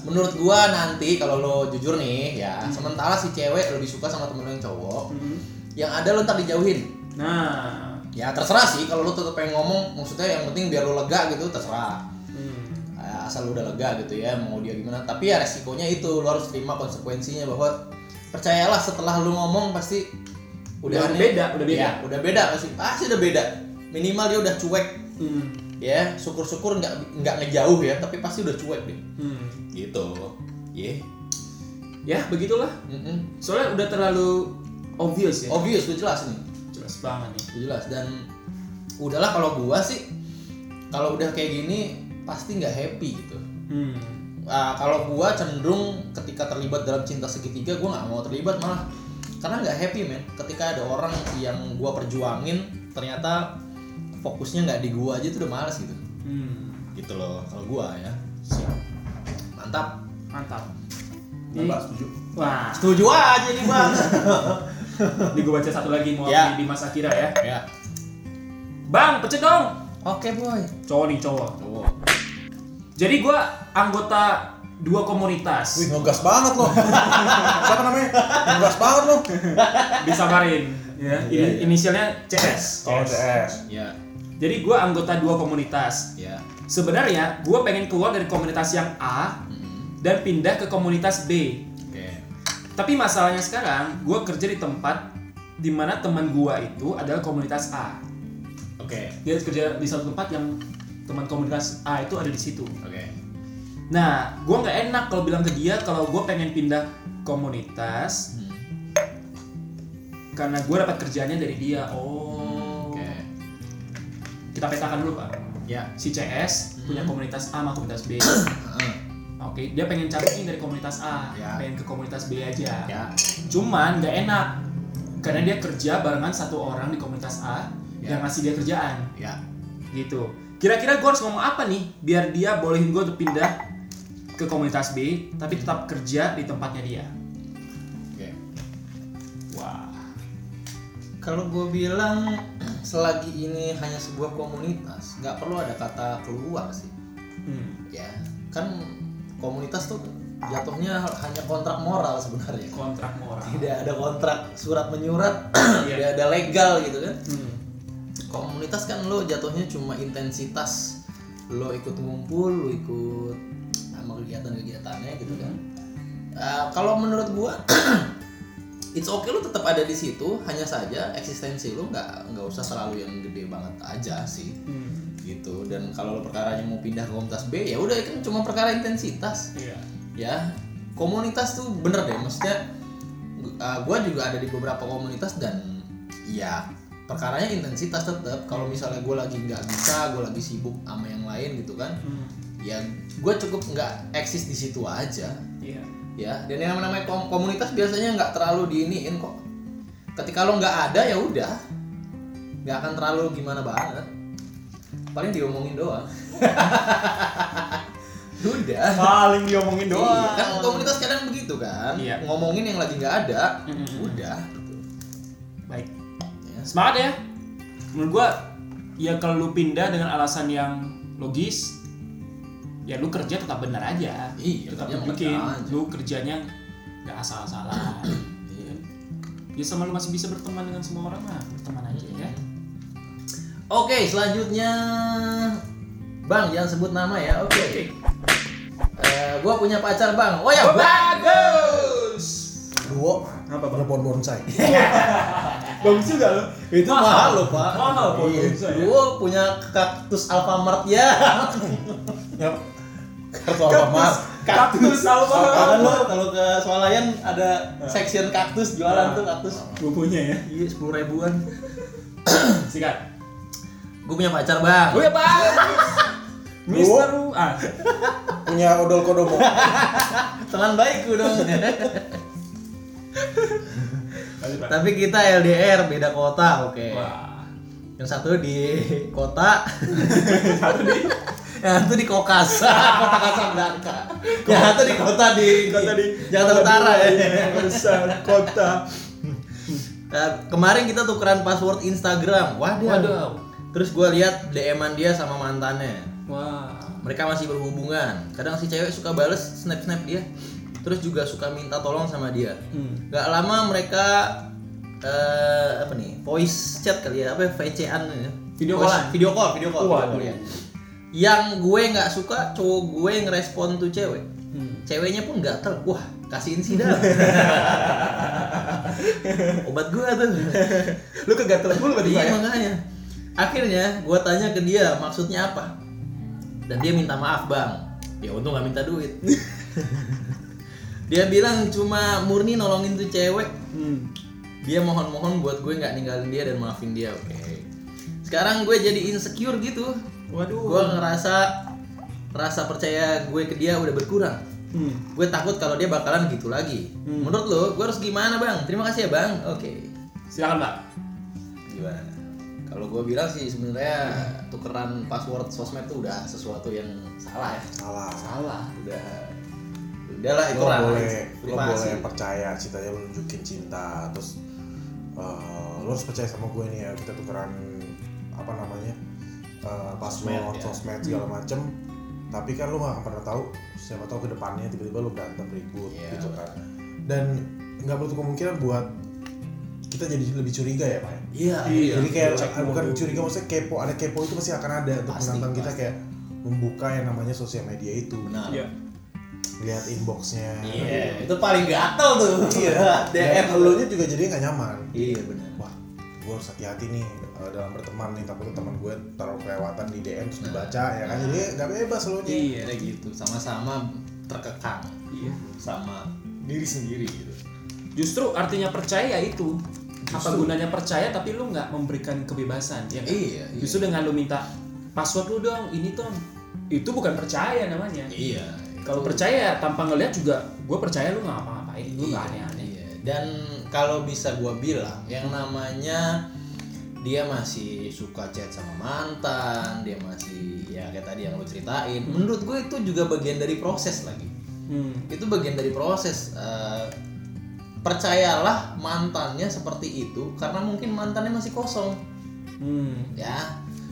S2: Menurut gua nanti kalau lo jujur nih ya, sementara si cewek lebih suka sama temen lo yang cowok,
S1: Hmm.
S2: yang ada lo ntar dijauhin.
S1: Nah,
S2: Ya terserah sih kalau lo tetep pengen ngomong, maksudnya yang penting biar lo lega gitu terserah.
S1: hmm.
S2: Eh, asal lu udah lega gitu ya mau dia gimana tapi ya resikonya itu lu harus terima konsekuensinya bahwa percayalah setelah lu ngomong pasti
S1: Udah
S2: aneh.
S1: beda, udah beda.
S2: Ya, udah beda pasti pasti udah beda minimal dia udah cuek
S1: Hmm.
S2: ya syukur-syukur nggak nggak ngejauh ya tapi pasti udah cuek deh
S1: Hmm.
S2: gitu
S1: Iya.
S2: ya
S1: Ya begitulah.
S2: Mm-mm.
S1: Soalnya udah terlalu obvious ya.
S2: obvious udah jelas nih
S1: Jelas banget nih.
S2: udah jelas dan udahlah kalau gua sih kalau udah kayak gini pasti nggak happy gitu
S1: Hmm.
S2: Ah, kalau gua cenderung ketika terlibat dalam cinta segitiga gua nggak mau terlibat malah karena nggak happy men ketika ada orang yang gua perjuangin ternyata fokusnya nggak di gua aja tuh udah males gitu
S1: Hmm.
S2: gitu loh kalau gua ya siap mantap
S1: Mantap. Ini-
S3: Nambah setuju.
S1: Wah,
S2: setuju aja nih bang
S1: ini gue baca satu lagi mau
S2: Ya.
S1: di masa kira ya.
S2: ya
S1: Bang, pecet dong.
S2: oke boy
S1: Cowok nih cowok.
S2: Cowok.
S1: Jadi gue anggota dua komunitas.
S3: Wih, ngegas banget lo. Siapa namanya? Ngegas banget lo.
S1: Disabarin. Ya, ini-
S2: Iya, iya.
S1: inisialnya CS.
S3: Oh, CS.
S2: ya
S1: Jadi gue anggota dua komunitas.
S2: ya
S1: Sebenarnya gue pengen keluar dari komunitas yang A
S2: Mm-mm.
S1: dan pindah ke komunitas B.
S2: oke
S1: Tapi masalahnya sekarang gue kerja di tempat dimana teman gue itu adalah komunitas A.
S2: oke
S1: Dia kerja di satu tempat yang teman komunitas A itu ada di situ.
S2: oke
S1: Nah, gue nggak enak kalau bilang ke dia kalau gue pengen pindah komunitas
S2: Hmm.
S1: karena gue dapat kerjanya dari dia. Oh.
S2: oke
S1: Kita petakan dulu pak.
S2: ya
S1: Si CS punya komunitas A sama komunitas B.
S2: Heeh.
S1: Oke, dia pengen cabut dari komunitas A,
S2: Ya.
S1: pengen ke komunitas B aja.
S2: ya
S1: Cuman nggak enak karena dia kerja barengan satu orang di komunitas A
S2: Ya.
S1: yang ngasih dia kerjaan
S2: ya
S1: gitu. Kira-kira gue harus ngomong apa nih biar dia bolehin gue untuk pindah ke komunitas B
S2: Hmm.
S1: tapi tetap kerja di tempatnya dia.
S2: oke
S1: Wah.
S2: Kalau gue bilang selagi ini hanya sebuah komunitas, nggak perlu ada kata keluar sih.
S1: Hmm.
S2: Ya, kan komunitas tuh jatuhnya hanya kontrak moral sebenarnya.
S1: Kontrak moral.
S2: Tidak ada kontrak surat menyurat,
S1: Iya.
S2: tidak ada legal gitu kan.
S1: Hmm.
S2: Komunitas kan lo jatuhnya cuma intensitas lo ikut ngumpul, lo ikut sama kegiatan-kegiatannya gitu kan. Eh, kalau menurut gua it's okay lu tetap ada di situ hanya saja eksistensi lu nggak nggak usah selalu yang gede banget aja sih
S1: Hmm.
S2: gitu dan kalau lu perkaranya mau pindah ke komunitas B ya udah kan cuma perkara intensitas
S1: Iya.
S2: ya komunitas tuh bener deh maksudnya gu- uh, gua juga ada di beberapa komunitas dan ya perkaranya intensitas tetap kalau misalnya gua lagi nggak bisa gua lagi sibuk sama yang lain gitu kan
S1: Hmm.
S2: ya gua cukup nggak eksis di situ aja
S1: Iya.
S2: ya dan yang namanya kom- komunitas biasanya nggak terlalu diiniin kok ketika lo nggak ada ya udah nggak akan terlalu gimana banget paling diomongin doang udah
S3: Paling diomongin
S2: Iya, kan komunitas kadang begitu kan
S1: Iya.
S2: ngomongin yang lagi nggak ada
S1: Mm-mm.
S2: udah gitu
S1: Baik.
S2: ya
S1: Semangat ya. Menurut gua ya kalau lu pindah dengan alasan yang logis ya lu kerja tetap benar aja.
S2: Iya,
S1: tetap
S2: kerja
S1: bikin
S2: benar aja.
S1: lu kerjanya nggak asal-asalan.
S2: Iya.
S1: ya sama lu masih bisa berteman dengan semua orang lah, berteman aja ya.
S2: Oke, selanjutnya Bang, jangan sebut nama ya. Oke. Eh, gua punya pacar, Bang. Oh ya, bagus.
S3: Duo.
S1: Apa, Bang?
S3: Telepon bonsai.
S1: Bagus juga lu.
S2: Itu mahal loh, Pak.
S1: Mahal, Pak.
S2: Iya.
S1: Bisa, ya.
S2: Gua punya kaktus Alfamart ya.
S3: Yap.
S2: Kartu Alfamart.
S1: Kaktus
S2: Kan
S1: sama
S2: lo kalau ke Swalayan ada
S1: Nah.
S2: section kaktus jualan tuh kaktus.
S1: Bukunya ya.
S2: Iya, 10 ribuan.
S1: Sikat.
S2: Gua punya pacar, Bang.
S1: Gue Pak. Mister
S3: Lu.
S2: Oh.
S1: Ru. Ah.
S3: Punya odol kodomo.
S2: Teman baikku dong.
S1: Lanjut, Pak.
S2: Tapi kita LDR beda kota, oke.
S1: Wah.
S2: Yang satu di kota.
S1: Satu nih.
S2: Nah, itu di Kokas, kota Kasablanka. Ya, itu di kota di
S3: Kota di
S2: Jakarta Utara ya.
S3: besar kota.
S2: Nah, kemarin kita tukeran password Instagram. Waduh.
S1: Waduh.
S2: Terus gue lihat DM-an dia sama mantannya.
S1: Wah.
S2: Mereka masih berhubungan. Kadang si cewek suka bales snap-snap dia. Terus juga suka minta tolong sama dia.
S1: Hmm.
S2: Gak lama mereka eh apa nih? Voice chat kali ya, apa ya, VCan ya.
S1: Video
S2: Voice-
S1: callan.
S2: Video call, video call.
S1: Waduh.
S2: video call, ya. Yang gue nggak suka cowok gue ngerespon tuh cewek.
S1: Hmm.
S2: Ceweknya pun gatel. Wah, kasihin sih dah. Obat gue tuh.
S3: Lu kegatelan mulu berarti, Pak,
S2: Iya
S3: ya?
S2: makanya. Akhirnya gue tanya ke dia maksudnya apa. Dan dia minta maaf bang. Ya untung gak minta duit. dia bilang cuma murni nolongin tuh cewek.
S1: Hmm.
S2: Dia mohon-mohon buat gue nggak ninggalin dia dan maafin dia. Oke. Sekarang gue jadi insecure gitu.
S1: Waduh.
S2: Gue ngerasa rasa percaya gue ke dia udah berkurang.
S1: Hmm.
S2: Gue takut kalau dia bakalan gitu lagi.
S1: Hmm.
S2: Menurut lo, gue harus gimana bang? Terima kasih ya bang. Oke.
S1: Silakan, Pak.
S2: gimana kalau gue bilang sih sebenarnya tukeran password sosmed tuh udah sesuatu yang salah ya
S3: Salah.
S1: Salah.
S2: udah udahlah itu
S3: Lo
S2: ranah
S3: boleh, lo
S2: privasi
S3: boleh percaya cintanya lo nunjukin cinta, terus eh, lo harus percaya sama gue nih ya kita tukeran apa namanya eh, password,
S2: ya.
S3: sosmed segala macem. Tapi kan lo gak akan pernah tahu siapa tahu kedepannya tiba-tiba lo berantem ribut
S2: Iya,
S3: gitu kan. Dan nggak menutup kemungkinan buat kita jadi lebih curiga ya pak. ya?
S2: iya
S1: Iya.
S3: jadi kayak
S1: cek
S3: bukan
S1: dulu.
S3: curiga maksudnya kepo ada kepo itu pasti akan ada untuk
S2: Pasti,
S3: menantang kita
S2: pasti.
S3: kayak membuka yang namanya sosial media itu
S2: benar
S1: Iya.
S3: lihat inboxnya
S2: Iya, itu paling gatel tuh iya
S3: DM
S2: dm
S3: lu
S2: lu
S3: nya juga jadi nggak nyaman
S2: iya benar
S3: wah gue harus hati-hati nih eh, dalam berteman nih takutnya teman gue taruh kelewatan di DM terus dibaca ya kan jadi nggak bebas lo nya
S2: iya ada gitu sama-sama terkekang
S1: Iya.
S2: sama diri sendiri gitu
S1: Justru artinya percaya itu apa gunanya percaya tapi lu nggak memberikan kebebasan ya kan?
S2: Iya, iya.
S1: Justru dengan lu minta password lu dong, ini tuh itu bukan percaya namanya.
S2: iya
S1: Kalau
S2: itu-
S1: percaya tanpa ngelihat juga gue percaya lu nggak apa-apain, lu nggak aneh-aneh.
S2: Iya. Dan kalau bisa gua bilang, yang namanya dia masih suka chat sama mantan, dia masih ya kayak tadi yang lu ceritain. Menurut gue itu juga bagian dari proses lagi.
S1: Hmm.
S2: Itu bagian dari proses. eh, percayalah mantannya seperti itu karena mungkin mantannya masih kosong
S1: Hmm.
S2: ya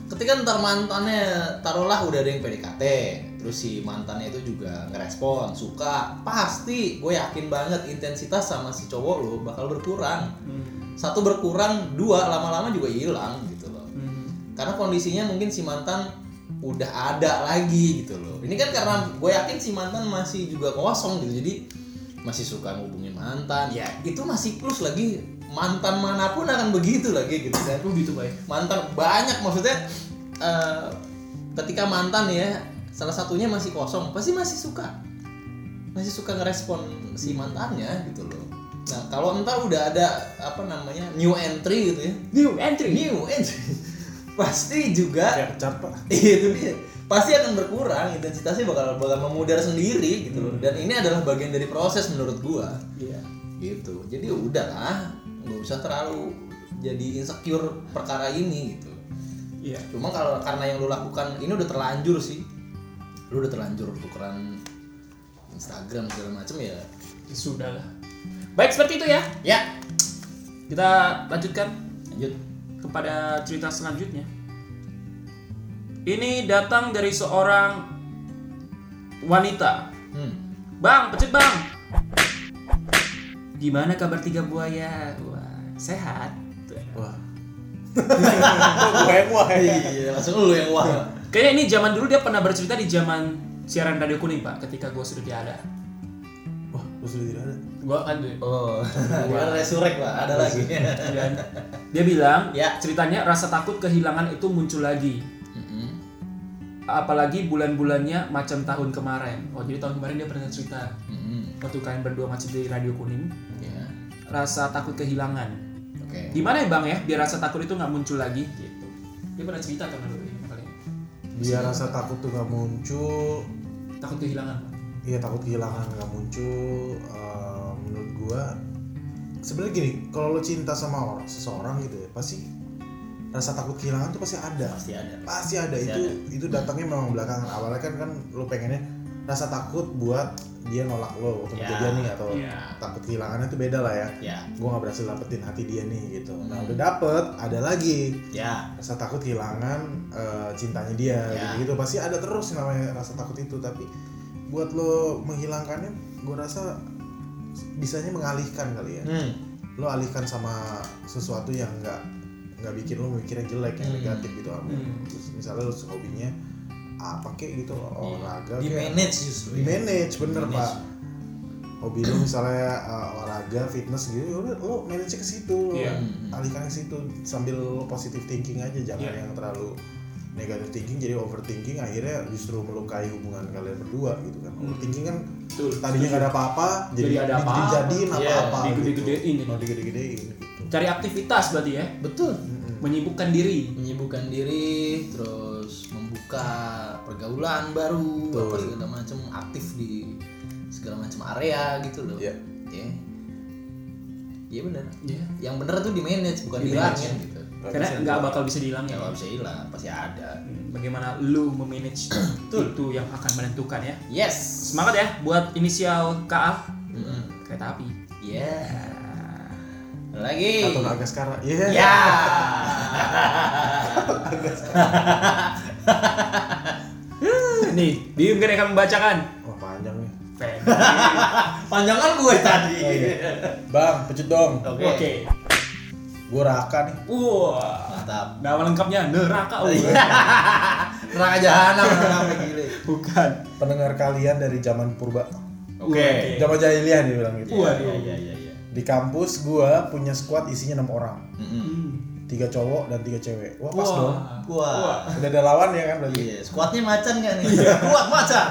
S2: ketika ntar mantannya taruhlah udah ada yang PDKT terus si mantannya itu juga ngerespon suka pasti gue yakin banget intensitas sama si cowok lo bakal berkurang
S1: Hmm.
S2: satu berkurang dua lama-lama juga hilang gitu loh
S1: Hmm.
S2: karena kondisinya mungkin si mantan udah ada lagi gitu loh ini kan karena gue yakin si mantan masih juga kosong gitu jadi masih suka ngubungin mantan ya itu masih plus lagi mantan manapun akan begitu lagi gitu kan
S1: Oh gitu baik.
S2: mantan banyak maksudnya eh, ketika mantan ya salah satunya masih kosong pasti masih suka masih suka ngerespon si mantannya gitu loh nah kalau entar udah ada apa namanya new entry gitu ya
S1: New entry.
S2: new entry pasti juga Iya,
S3: kayak pecat pak
S2: itu dia pasti akan berkurang intensitasnya bakal bakal memudar sendiri gitu loh dan ini adalah bagian dari proses menurut gua
S1: Iya.
S2: gitu jadi udahlah nggak usah terlalu jadi insecure perkara ini gitu
S1: Iya.
S2: cuma kalau karena yang lu lakukan ini udah terlanjur sih lu udah terlanjur tukeran Instagram segala macem ya
S1: Sudahlah. Baik seperti itu ya.
S2: ya
S1: Kita lanjutkan.
S2: lanjut
S1: kepada cerita selanjutnya. Ini datang dari seorang wanita.
S2: hmm.
S1: Bang, pecet bang. Gimana kabar tiga buaya? Wah, sehat.
S3: wah gue wah
S2: iya langsung lu yang wah
S1: Kayaknya ini zaman dulu dia pernah bercerita di zaman siaran radio kuning pak, ketika gue sudah tiada.
S3: wah lu sudah tidak ada
S1: Gue kan
S2: oh gimana resurrek pak ada lagi
S1: dan dia bilang
S2: Ya.
S1: ceritanya rasa takut kehilangan itu muncul lagi.
S2: Mm-mm.
S1: Apalagi bulan-bulannya macam tahun kemarin. Oh jadi tahun kemarin dia pernah cerita
S2: Mm-mm.
S1: waktu kalian berdua masih di radio kuning
S2: ya
S1: rasa takut kehilangan
S2: oke
S1: gimana ya bang ya biar rasa takut itu nggak muncul lagi gitu dia pernah cerita kan dulu ya, kali ini.
S3: biar rasa takut tuh gak muncul
S1: takut kehilangan
S3: Iya takut kehilangan nggak muncul. eh, menurut gua sebenarnya gini, kalau lo cinta sama orang seseorang gitu ya pasti rasa takut kehilangan tuh pasti ada
S2: pasti ada
S3: pasti ada
S2: Pasti
S3: itu itu datangnya memang belakangan awalnya kan kan lu pengennya rasa takut buat dia nolak lo waktu
S2: Ya,
S3: kejadian nih atau
S2: ya.
S3: takut kehilangannya itu beda lah ya
S2: ya
S3: gue nggak berhasil dapetin hati dia nih gitu nah
S2: Hmm.
S3: udah dapet ada lagi
S2: ya
S3: rasa takut kehilangan eh, cintanya dia
S2: Ya.
S3: gitu, gitu pasti ada terus yang namanya rasa takut itu tapi buat lo menghilangkannya gue rasa bisanya mengalihkan kali ya
S2: hmm.
S3: lo alihkan sama sesuatu yang nggak nggak bikin lo mikirnya jelek yang
S2: Hmm.
S3: negatif gitu apa
S1: Hmm.
S3: Terus misalnya lo hobinya apa kek gitu olahraga
S2: di
S3: kayak-
S2: manage justru ya.
S3: di manage bener
S2: Manage.
S3: pak hobi lo misalnya uh, olahraga fitness gitu ya udah lo manage ke situ lo
S1: Iya.
S3: alihkan ke situ sambil lo positive thinking aja jangan
S1: Iya.
S3: yang terlalu negative thinking jadi overthinking akhirnya justru melukai hubungan kalian berdua gitu kan
S1: Hmm.
S3: overthinking kan
S1: Betul.
S3: tadinya nggak ada apa-apa jadi,
S1: Jadi ada apa-apa.
S3: dijadiin
S2: Iya,
S3: apa-apa
S1: digede-gedein
S3: gitu.
S1: ini.
S3: Oh, digede-gedein gitu
S1: Cari aktivitas berarti ya.
S2: betul
S3: Mm-mm.
S1: Menyibukkan diri.
S2: menyibukkan diri terus membuka pergaulan baru
S3: Betul.
S2: apa segala macam aktif di segala macam area gitu loh
S3: Iya.
S2: ya iya benar
S1: Iya.
S2: yang bener tuh di manage bukan
S1: Di
S2: dihilangin gitu
S1: Karena nggak bakal bisa dihilang
S2: ya
S1: ya.
S2: nggak bisa hilang pasti ada
S1: Hmm, Bagaimana lu memanage itu yang akan menentukan ya.
S2: yes
S1: Semangat ya buat inisial KA kereta api.
S2: ya lagi
S3: atau naga sekarang iya
S2: ya
S1: Nih, Bium kan yang akan membacakan.
S3: wah panjang nih Oh, iya.
S2: panjangan gue tadi
S3: bang pecut dong
S2: Oh, iya. oke
S1: Oke.
S3: gue raka nih
S1: Wah.
S2: mantap
S1: Nama lengkapnya neraka. Oh.
S2: neraka jahanam neraka gile
S1: Bukan.
S3: pendengar kalian dari zaman purba
S2: oke
S3: zaman jahiliyah dia bilang gitu
S2: Iya,
S1: Waduh.
S2: iya iya iya
S3: di kampus gua punya squad isinya enam orang
S2: Mm-mm.
S1: Hmm.
S3: tiga cowok dan tiga cewek wah pas dong
S1: Wah.
S2: wah
S3: udah ada lawan ya kan berarti
S2: Iya, squadnya macan kan nih?
S3: Iya.
S2: Kuat macan.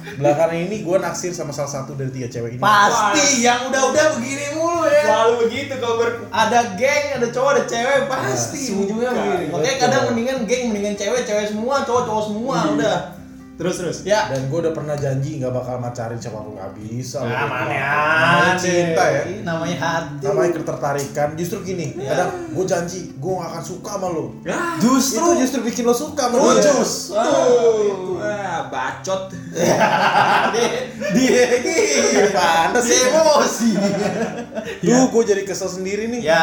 S3: belakangan ini gua naksir sama salah satu dari tiga cewek ini
S2: Pasti yang udah-udah begini mulu ya.
S1: Selalu begitu kalau ber
S2: Ada geng, ada cowok, ada cewek,
S3: Iya,
S2: pasti ujungnya begini. Makanya
S3: Betul.
S2: kadang mendingan geng, mendingan cewek, cewek semua, cowok, cowok semua
S3: Iya.
S2: udah.
S1: terus terus.
S2: Ya.
S3: dan gua udah pernah janji nggak bakal macarin siapa lu nggak bisa lu.
S2: Ah, mana
S3: Namanya
S2: ada.
S3: cinta ya
S2: Ini Namanya hati.
S3: namanya ketertarikan justru gini kadang gua janji gua gak akan suka sama lu
S1: Ah,
S3: justru Oh, itu justru bikin lo suka sama
S2: Terus.
S3: dia.
S2: Tuh.
S1: Wah, bacot.
S2: Dia gini.
S3: Panas Iya, sih.
S2: emosi.
S3: Duh, gue jadi kesel sendiri nih.
S2: Ya.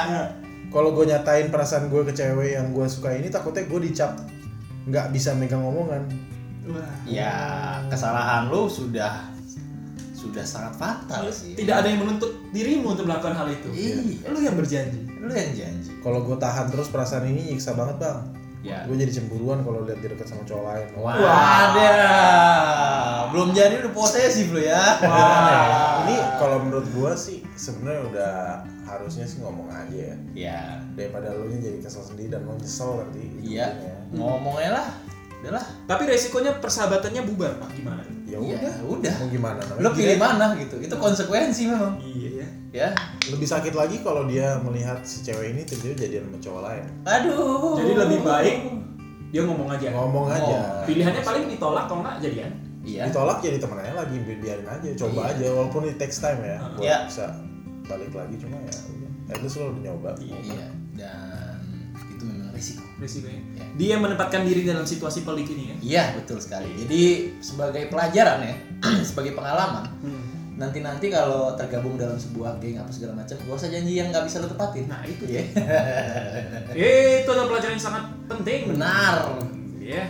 S3: Kalau gue nyatain perasaan gue ke cewek yang gue suka ini, takutnya gue dicap nggak bisa megang omongan.
S1: Wah.
S2: Ya, kesalahan lu sudah sudah sangat fatal sih.
S1: Tidak ada yang menuntut dirimu untuk melakukan hal itu.
S2: Iya.
S1: Lu yang berjanji.
S2: Lu yang janji.
S3: Kalau gue tahan terus perasaan ini nyiksa banget bang.
S2: Ya.
S3: Gue jadi cemburuan kalau lihat dia deket sama cowok lain.
S2: Wadah, belum jadi udah posesif lo ya.
S3: Wah. Ini kalau menurut gue sih sebenarnya udah harusnya sih ngomong aja ya.
S2: Ya,
S3: Daripada lo nya jadi kesel sendiri dan lo nyesel nanti. gitu kan ya.
S2: iya.
S3: ujung-ujungnya.
S2: Ngomongnya lah, udahlah.
S1: Tapi resikonya persahabatannya bubar, Pak. Gimana?
S3: Ya
S2: Ya,
S3: udah.
S2: udah.
S3: Mau gimana? namanya
S2: Lo pilih
S1: ya?
S3: dia-
S2: mana gitu. Itu konsekuensi memang.
S1: Iya ya.
S2: Ya.
S3: Lebih sakit lagi kalau dia melihat si cewek ini tiba-tiba jadian sama cowok lain.
S2: Aduh.
S1: Jadi lebih baik dia ngomong aja.
S3: Ngomong aja.
S1: Oh. Pilihannya paling ditolak kalau nggak jadian.
S2: Iya.
S3: ditolak jadi temennya lagi bi- biarin aja coba
S2: Iya.
S3: aja walaupun it takes time ya buat
S2: Iya.
S3: bisa balik lagi cuma ya udah. at least lo udah nyoba
S2: Iya. Dan itu memang risiko.
S1: Resikonya.
S2: Ya.
S1: Dia menempatkan diri dalam situasi pelik ini ya.
S2: Iya, betul sekali. Jadi sebagai pelajaran ya, sebagai pengalaman,
S1: Hmm.
S2: nanti-nanti kalau tergabung dalam sebuah geng apa segala macam, gak usah janji yang nggak bisa lo tepatin.
S1: Nah, itu
S2: ya.
S1: Itu adalah pelajaran yang sangat penting.
S2: Benar.
S1: Ya.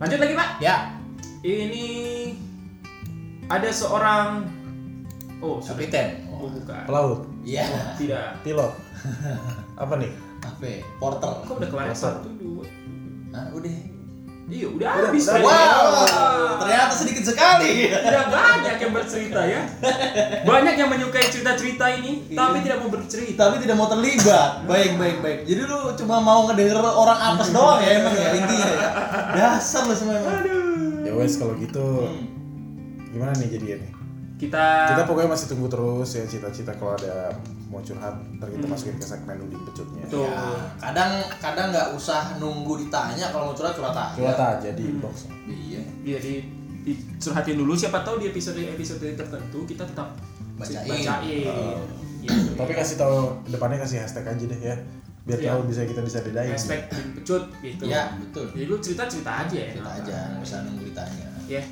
S1: Lanjut lagi, Pak.
S2: Ya,
S1: Ini ada seorang Oh, sudah.
S2: kapiten.
S1: Oh, bukan.
S3: pelaut
S2: Iya.
S1: Tidak.
S3: pilot apa nih
S2: Apa? ya? Porter.
S1: Kok udah kemarin
S3: Masa?
S1: satu dua?
S2: Nah, udah.
S1: Iya udah habis.
S3: udah.
S1: tadi.
S2: Wow,
S1: Wah.
S2: ternyata sedikit sekali.
S1: tidak banyak yang bercerita ya. Banyak yang menyukai cerita-cerita ini,
S2: Iya.
S1: tapi tidak mau bercerita.
S2: Tapi tidak mau terlibat. Baik, baik, baik. Jadi lu cuma mau ngedenger orang atas doang ya emang ya intinya ya. Dasar lu semua emang.
S3: ya wes kalau gitu
S2: Hmm.
S3: gimana nih jadinya nih
S1: Kita,
S3: kita pokoknya masih tunggu terus ya cita-cita kalau ada mau curhat ntar kita masukin ke segmen udin pecutnya
S1: Betul.
S2: Ya, kadang kadang nggak usah nunggu ditanya kalau mau curhat curhat aja.
S3: curhat aja di inbox
S2: Iya.
S1: ya di, dicurhatin dulu siapa tahu di episode episode tertentu kita tetap
S2: Bacain.
S1: bacain.
S2: Oh.
S1: Gitu.
S3: tapi kasih tahu depannya kasih hashtag aja deh ya biar
S1: Iya.
S3: tahu bisa kita bisa bedain
S1: respect dan pecut gitu
S2: Iya, betul.
S1: jadi lu cerita cerita aja ya
S2: Kita aja nggak usah nunggu ditanya.
S1: ya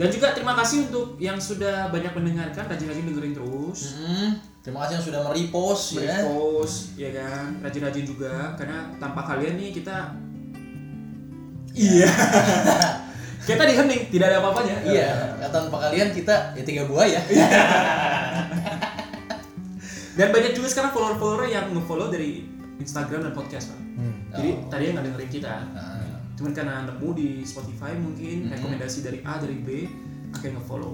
S1: dan juga terima kasih untuk yang sudah banyak mendengarkan rajin-rajin dengerin terus
S2: Mm-mm. Hmm, Terima kasih yang sudah merepost ya.
S1: repost ya kan rajin-rajin juga karena tanpa kalian nih kita kita di hening tidak ada apa-apanya
S2: Iya, ya, tanpa kalian kita ya tiga buaya.
S1: dan banyak juga sekarang follower-follower yang nge-follow dari Instagram dan podcast Pak.
S3: Hmm.
S1: jadi
S2: Oh.
S1: tadi yang nggak dengerin kita
S2: Nah,
S1: cuman karena anakmu di Spotify mungkin
S2: Mhm.
S1: rekomendasi dari A dari B akhirnya nge-follow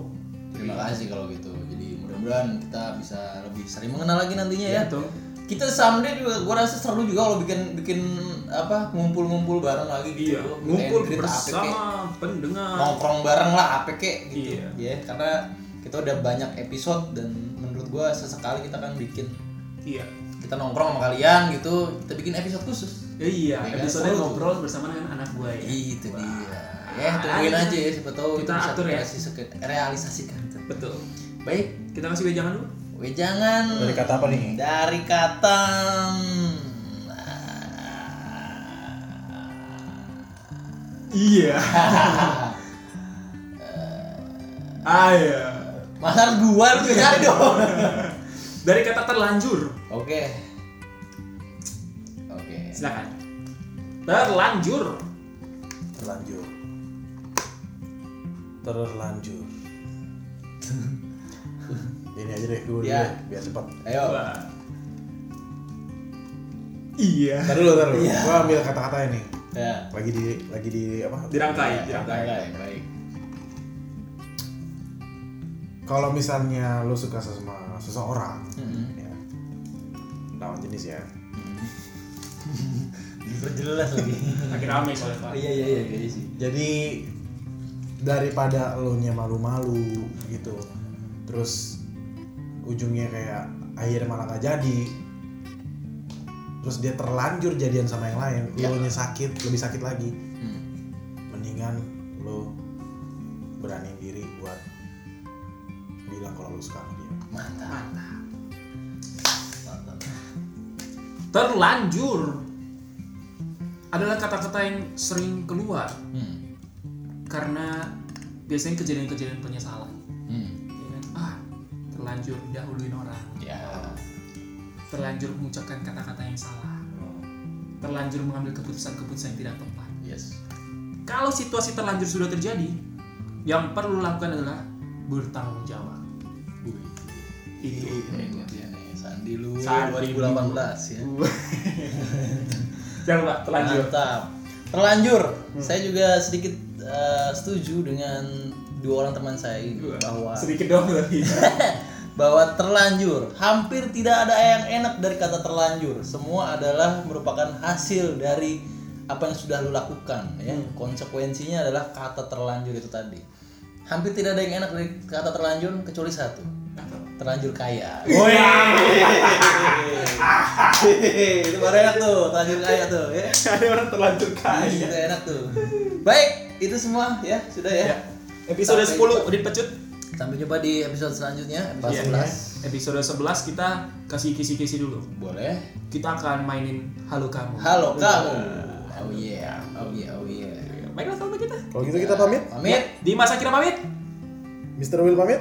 S2: terima kasih kalau gitu. Jadi mudah-mudahan kita bisa lebih sering mengenal lagi nantinya ya.
S1: Iya tuh
S2: Kita someday juga gua rasa seru juga kalau bikin bikin apa ngumpul-ngumpul bareng lagi
S1: iya
S2: gitu. Kita
S1: ngumpul
S2: yang cerita APK.
S1: bersama pendengar
S2: nongkrong bareng lah apa kek gitu
S1: Iya.
S2: ya karena kita udah banyak episode dan menurut gua sesekali kita kan bikin
S1: iya
S2: kita nongkrong sama kalian gitu kita bikin episode khusus
S1: iya
S2: Iya,
S1: episode
S2: seru tuh.
S1: ngobrol bersama dengan anak gue ya
S2: itu
S1: Wah.
S2: Gitu dia ya tungguin
S1: Ah,
S2: aja ya siapa tahu
S1: kita
S2: bisa
S1: atur ya.
S2: realisasi- realisasikan
S1: betul
S2: baik
S1: kita kasih wejangan dulu
S2: wejangan
S3: Dari kata apa nih?
S2: dari kata
S1: iya ah iya
S2: Masa gua lu ya? juga nyari Iya, dong
S1: dari kata terlanjur
S2: oke oke
S1: silakan terlanjur
S2: Oh.
S3: Terlanjur. Terlanjur. Ini aja deh dulu
S2: Iya.
S3: deh, biar cepat.
S2: ayo
S1: Wah. iya
S3: Ntar dulu, ntar dulu.
S2: Iya.
S3: Gua ambil kata-kata ini.
S2: ya
S3: Lagi di lagi di apa?
S2: Iya,
S1: dirangkai dirangkai
S2: Baik, baik.
S3: Kalau misalnya lo suka sama seseorang,
S2: Mm-mm.
S3: ya, lawan jenis ya.
S2: Diperjelas lagi.
S1: makin rame soalnya Pak.
S2: iya iya iya iya sih.
S3: Jadi daripada lo nya malu-malu gitu, terus ujungnya kayak akhirnya malah nggak jadi, terus dia terlanjur jadian sama yang lain,
S2: Ya.
S3: lo nya sakit lebih sakit lagi,
S2: Hmm.
S3: mendingan lo berani diri buat bilang kalau lo suka sama dia.
S2: Mantap.
S1: mantap
S2: Mantap.
S1: terlanjur adalah kata-kata yang sering keluar
S2: Hmm.
S1: karena biasanya kejadian-kejadian penyesalan
S2: Hmm.
S1: ya kan? ah terlanjur dahuluin orang
S2: Ya.
S1: terlanjur mengucapkan kata-kata yang salah terlanjur mengambil keputusan-keputusan yang tidak tepat
S2: Yes.
S1: kalau situasi terlanjur sudah terjadi yang perlu lakukan adalah bertanggung jawab
S2: Wih.
S1: itu
S2: Keren dia nih. Iya, Sandi lu
S1: Sandi
S2: 2018 ya.
S1: jangan lupa terlanjur
S2: Mantap. Terlanjur. Saya juga sedikit eh, setuju dengan dua orang teman saya ini bahwa
S1: sedikit dong lagi
S2: bahwa terlanjur hampir tidak ada yang enak dari kata terlanjur semua adalah merupakan hasil dari apa yang sudah lo lakukan ya konsekuensinya adalah kata terlanjur itu tadi hampir tidak ada yang enak dari kata terlanjur kecuali satu terlanjur kaya itu baru enak tuh terlanjur kaya tuh ya
S1: ada orang terlanjur
S2: itu
S1: Iya.
S2: Gitu, enak tuh baik itu semua ya sudah ya
S1: Iya. episode 10
S2: Sampai
S1: Udin Pecut
S2: sampai jumpa di episode selanjutnya
S1: Iya.
S2: episode
S1: episode
S2: 11
S1: 11 kita kasih kisi-kisi dulu
S2: boleh
S1: kita akan mainin halo kamu
S2: Halo kamu. Oh yeah, oh yeah, oh yeah.
S1: baiklah kalau begitu
S3: Kalau gitu kita pamit,
S2: Pamit,
S1: di masa kira pamit
S3: Mr. Will pamit.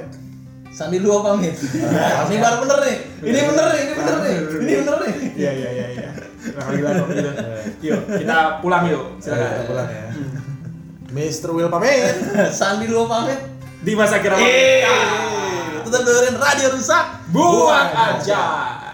S2: Sandi lu pamit. Ini baru bener nih. Ini bener nih, ini bener nih. Ini bener nih.
S1: Iya iya iya iya. Iya, Alhamdulillah kok gitu. Yuk, kita pulang yuk.
S3: Silakan
S1: Silakan.
S3: pulang ya. Mr. Will pamit.
S2: Sandi lu pamit.
S1: Di masa kira
S2: Tetap dengerin radio rusak.
S1: buang aja.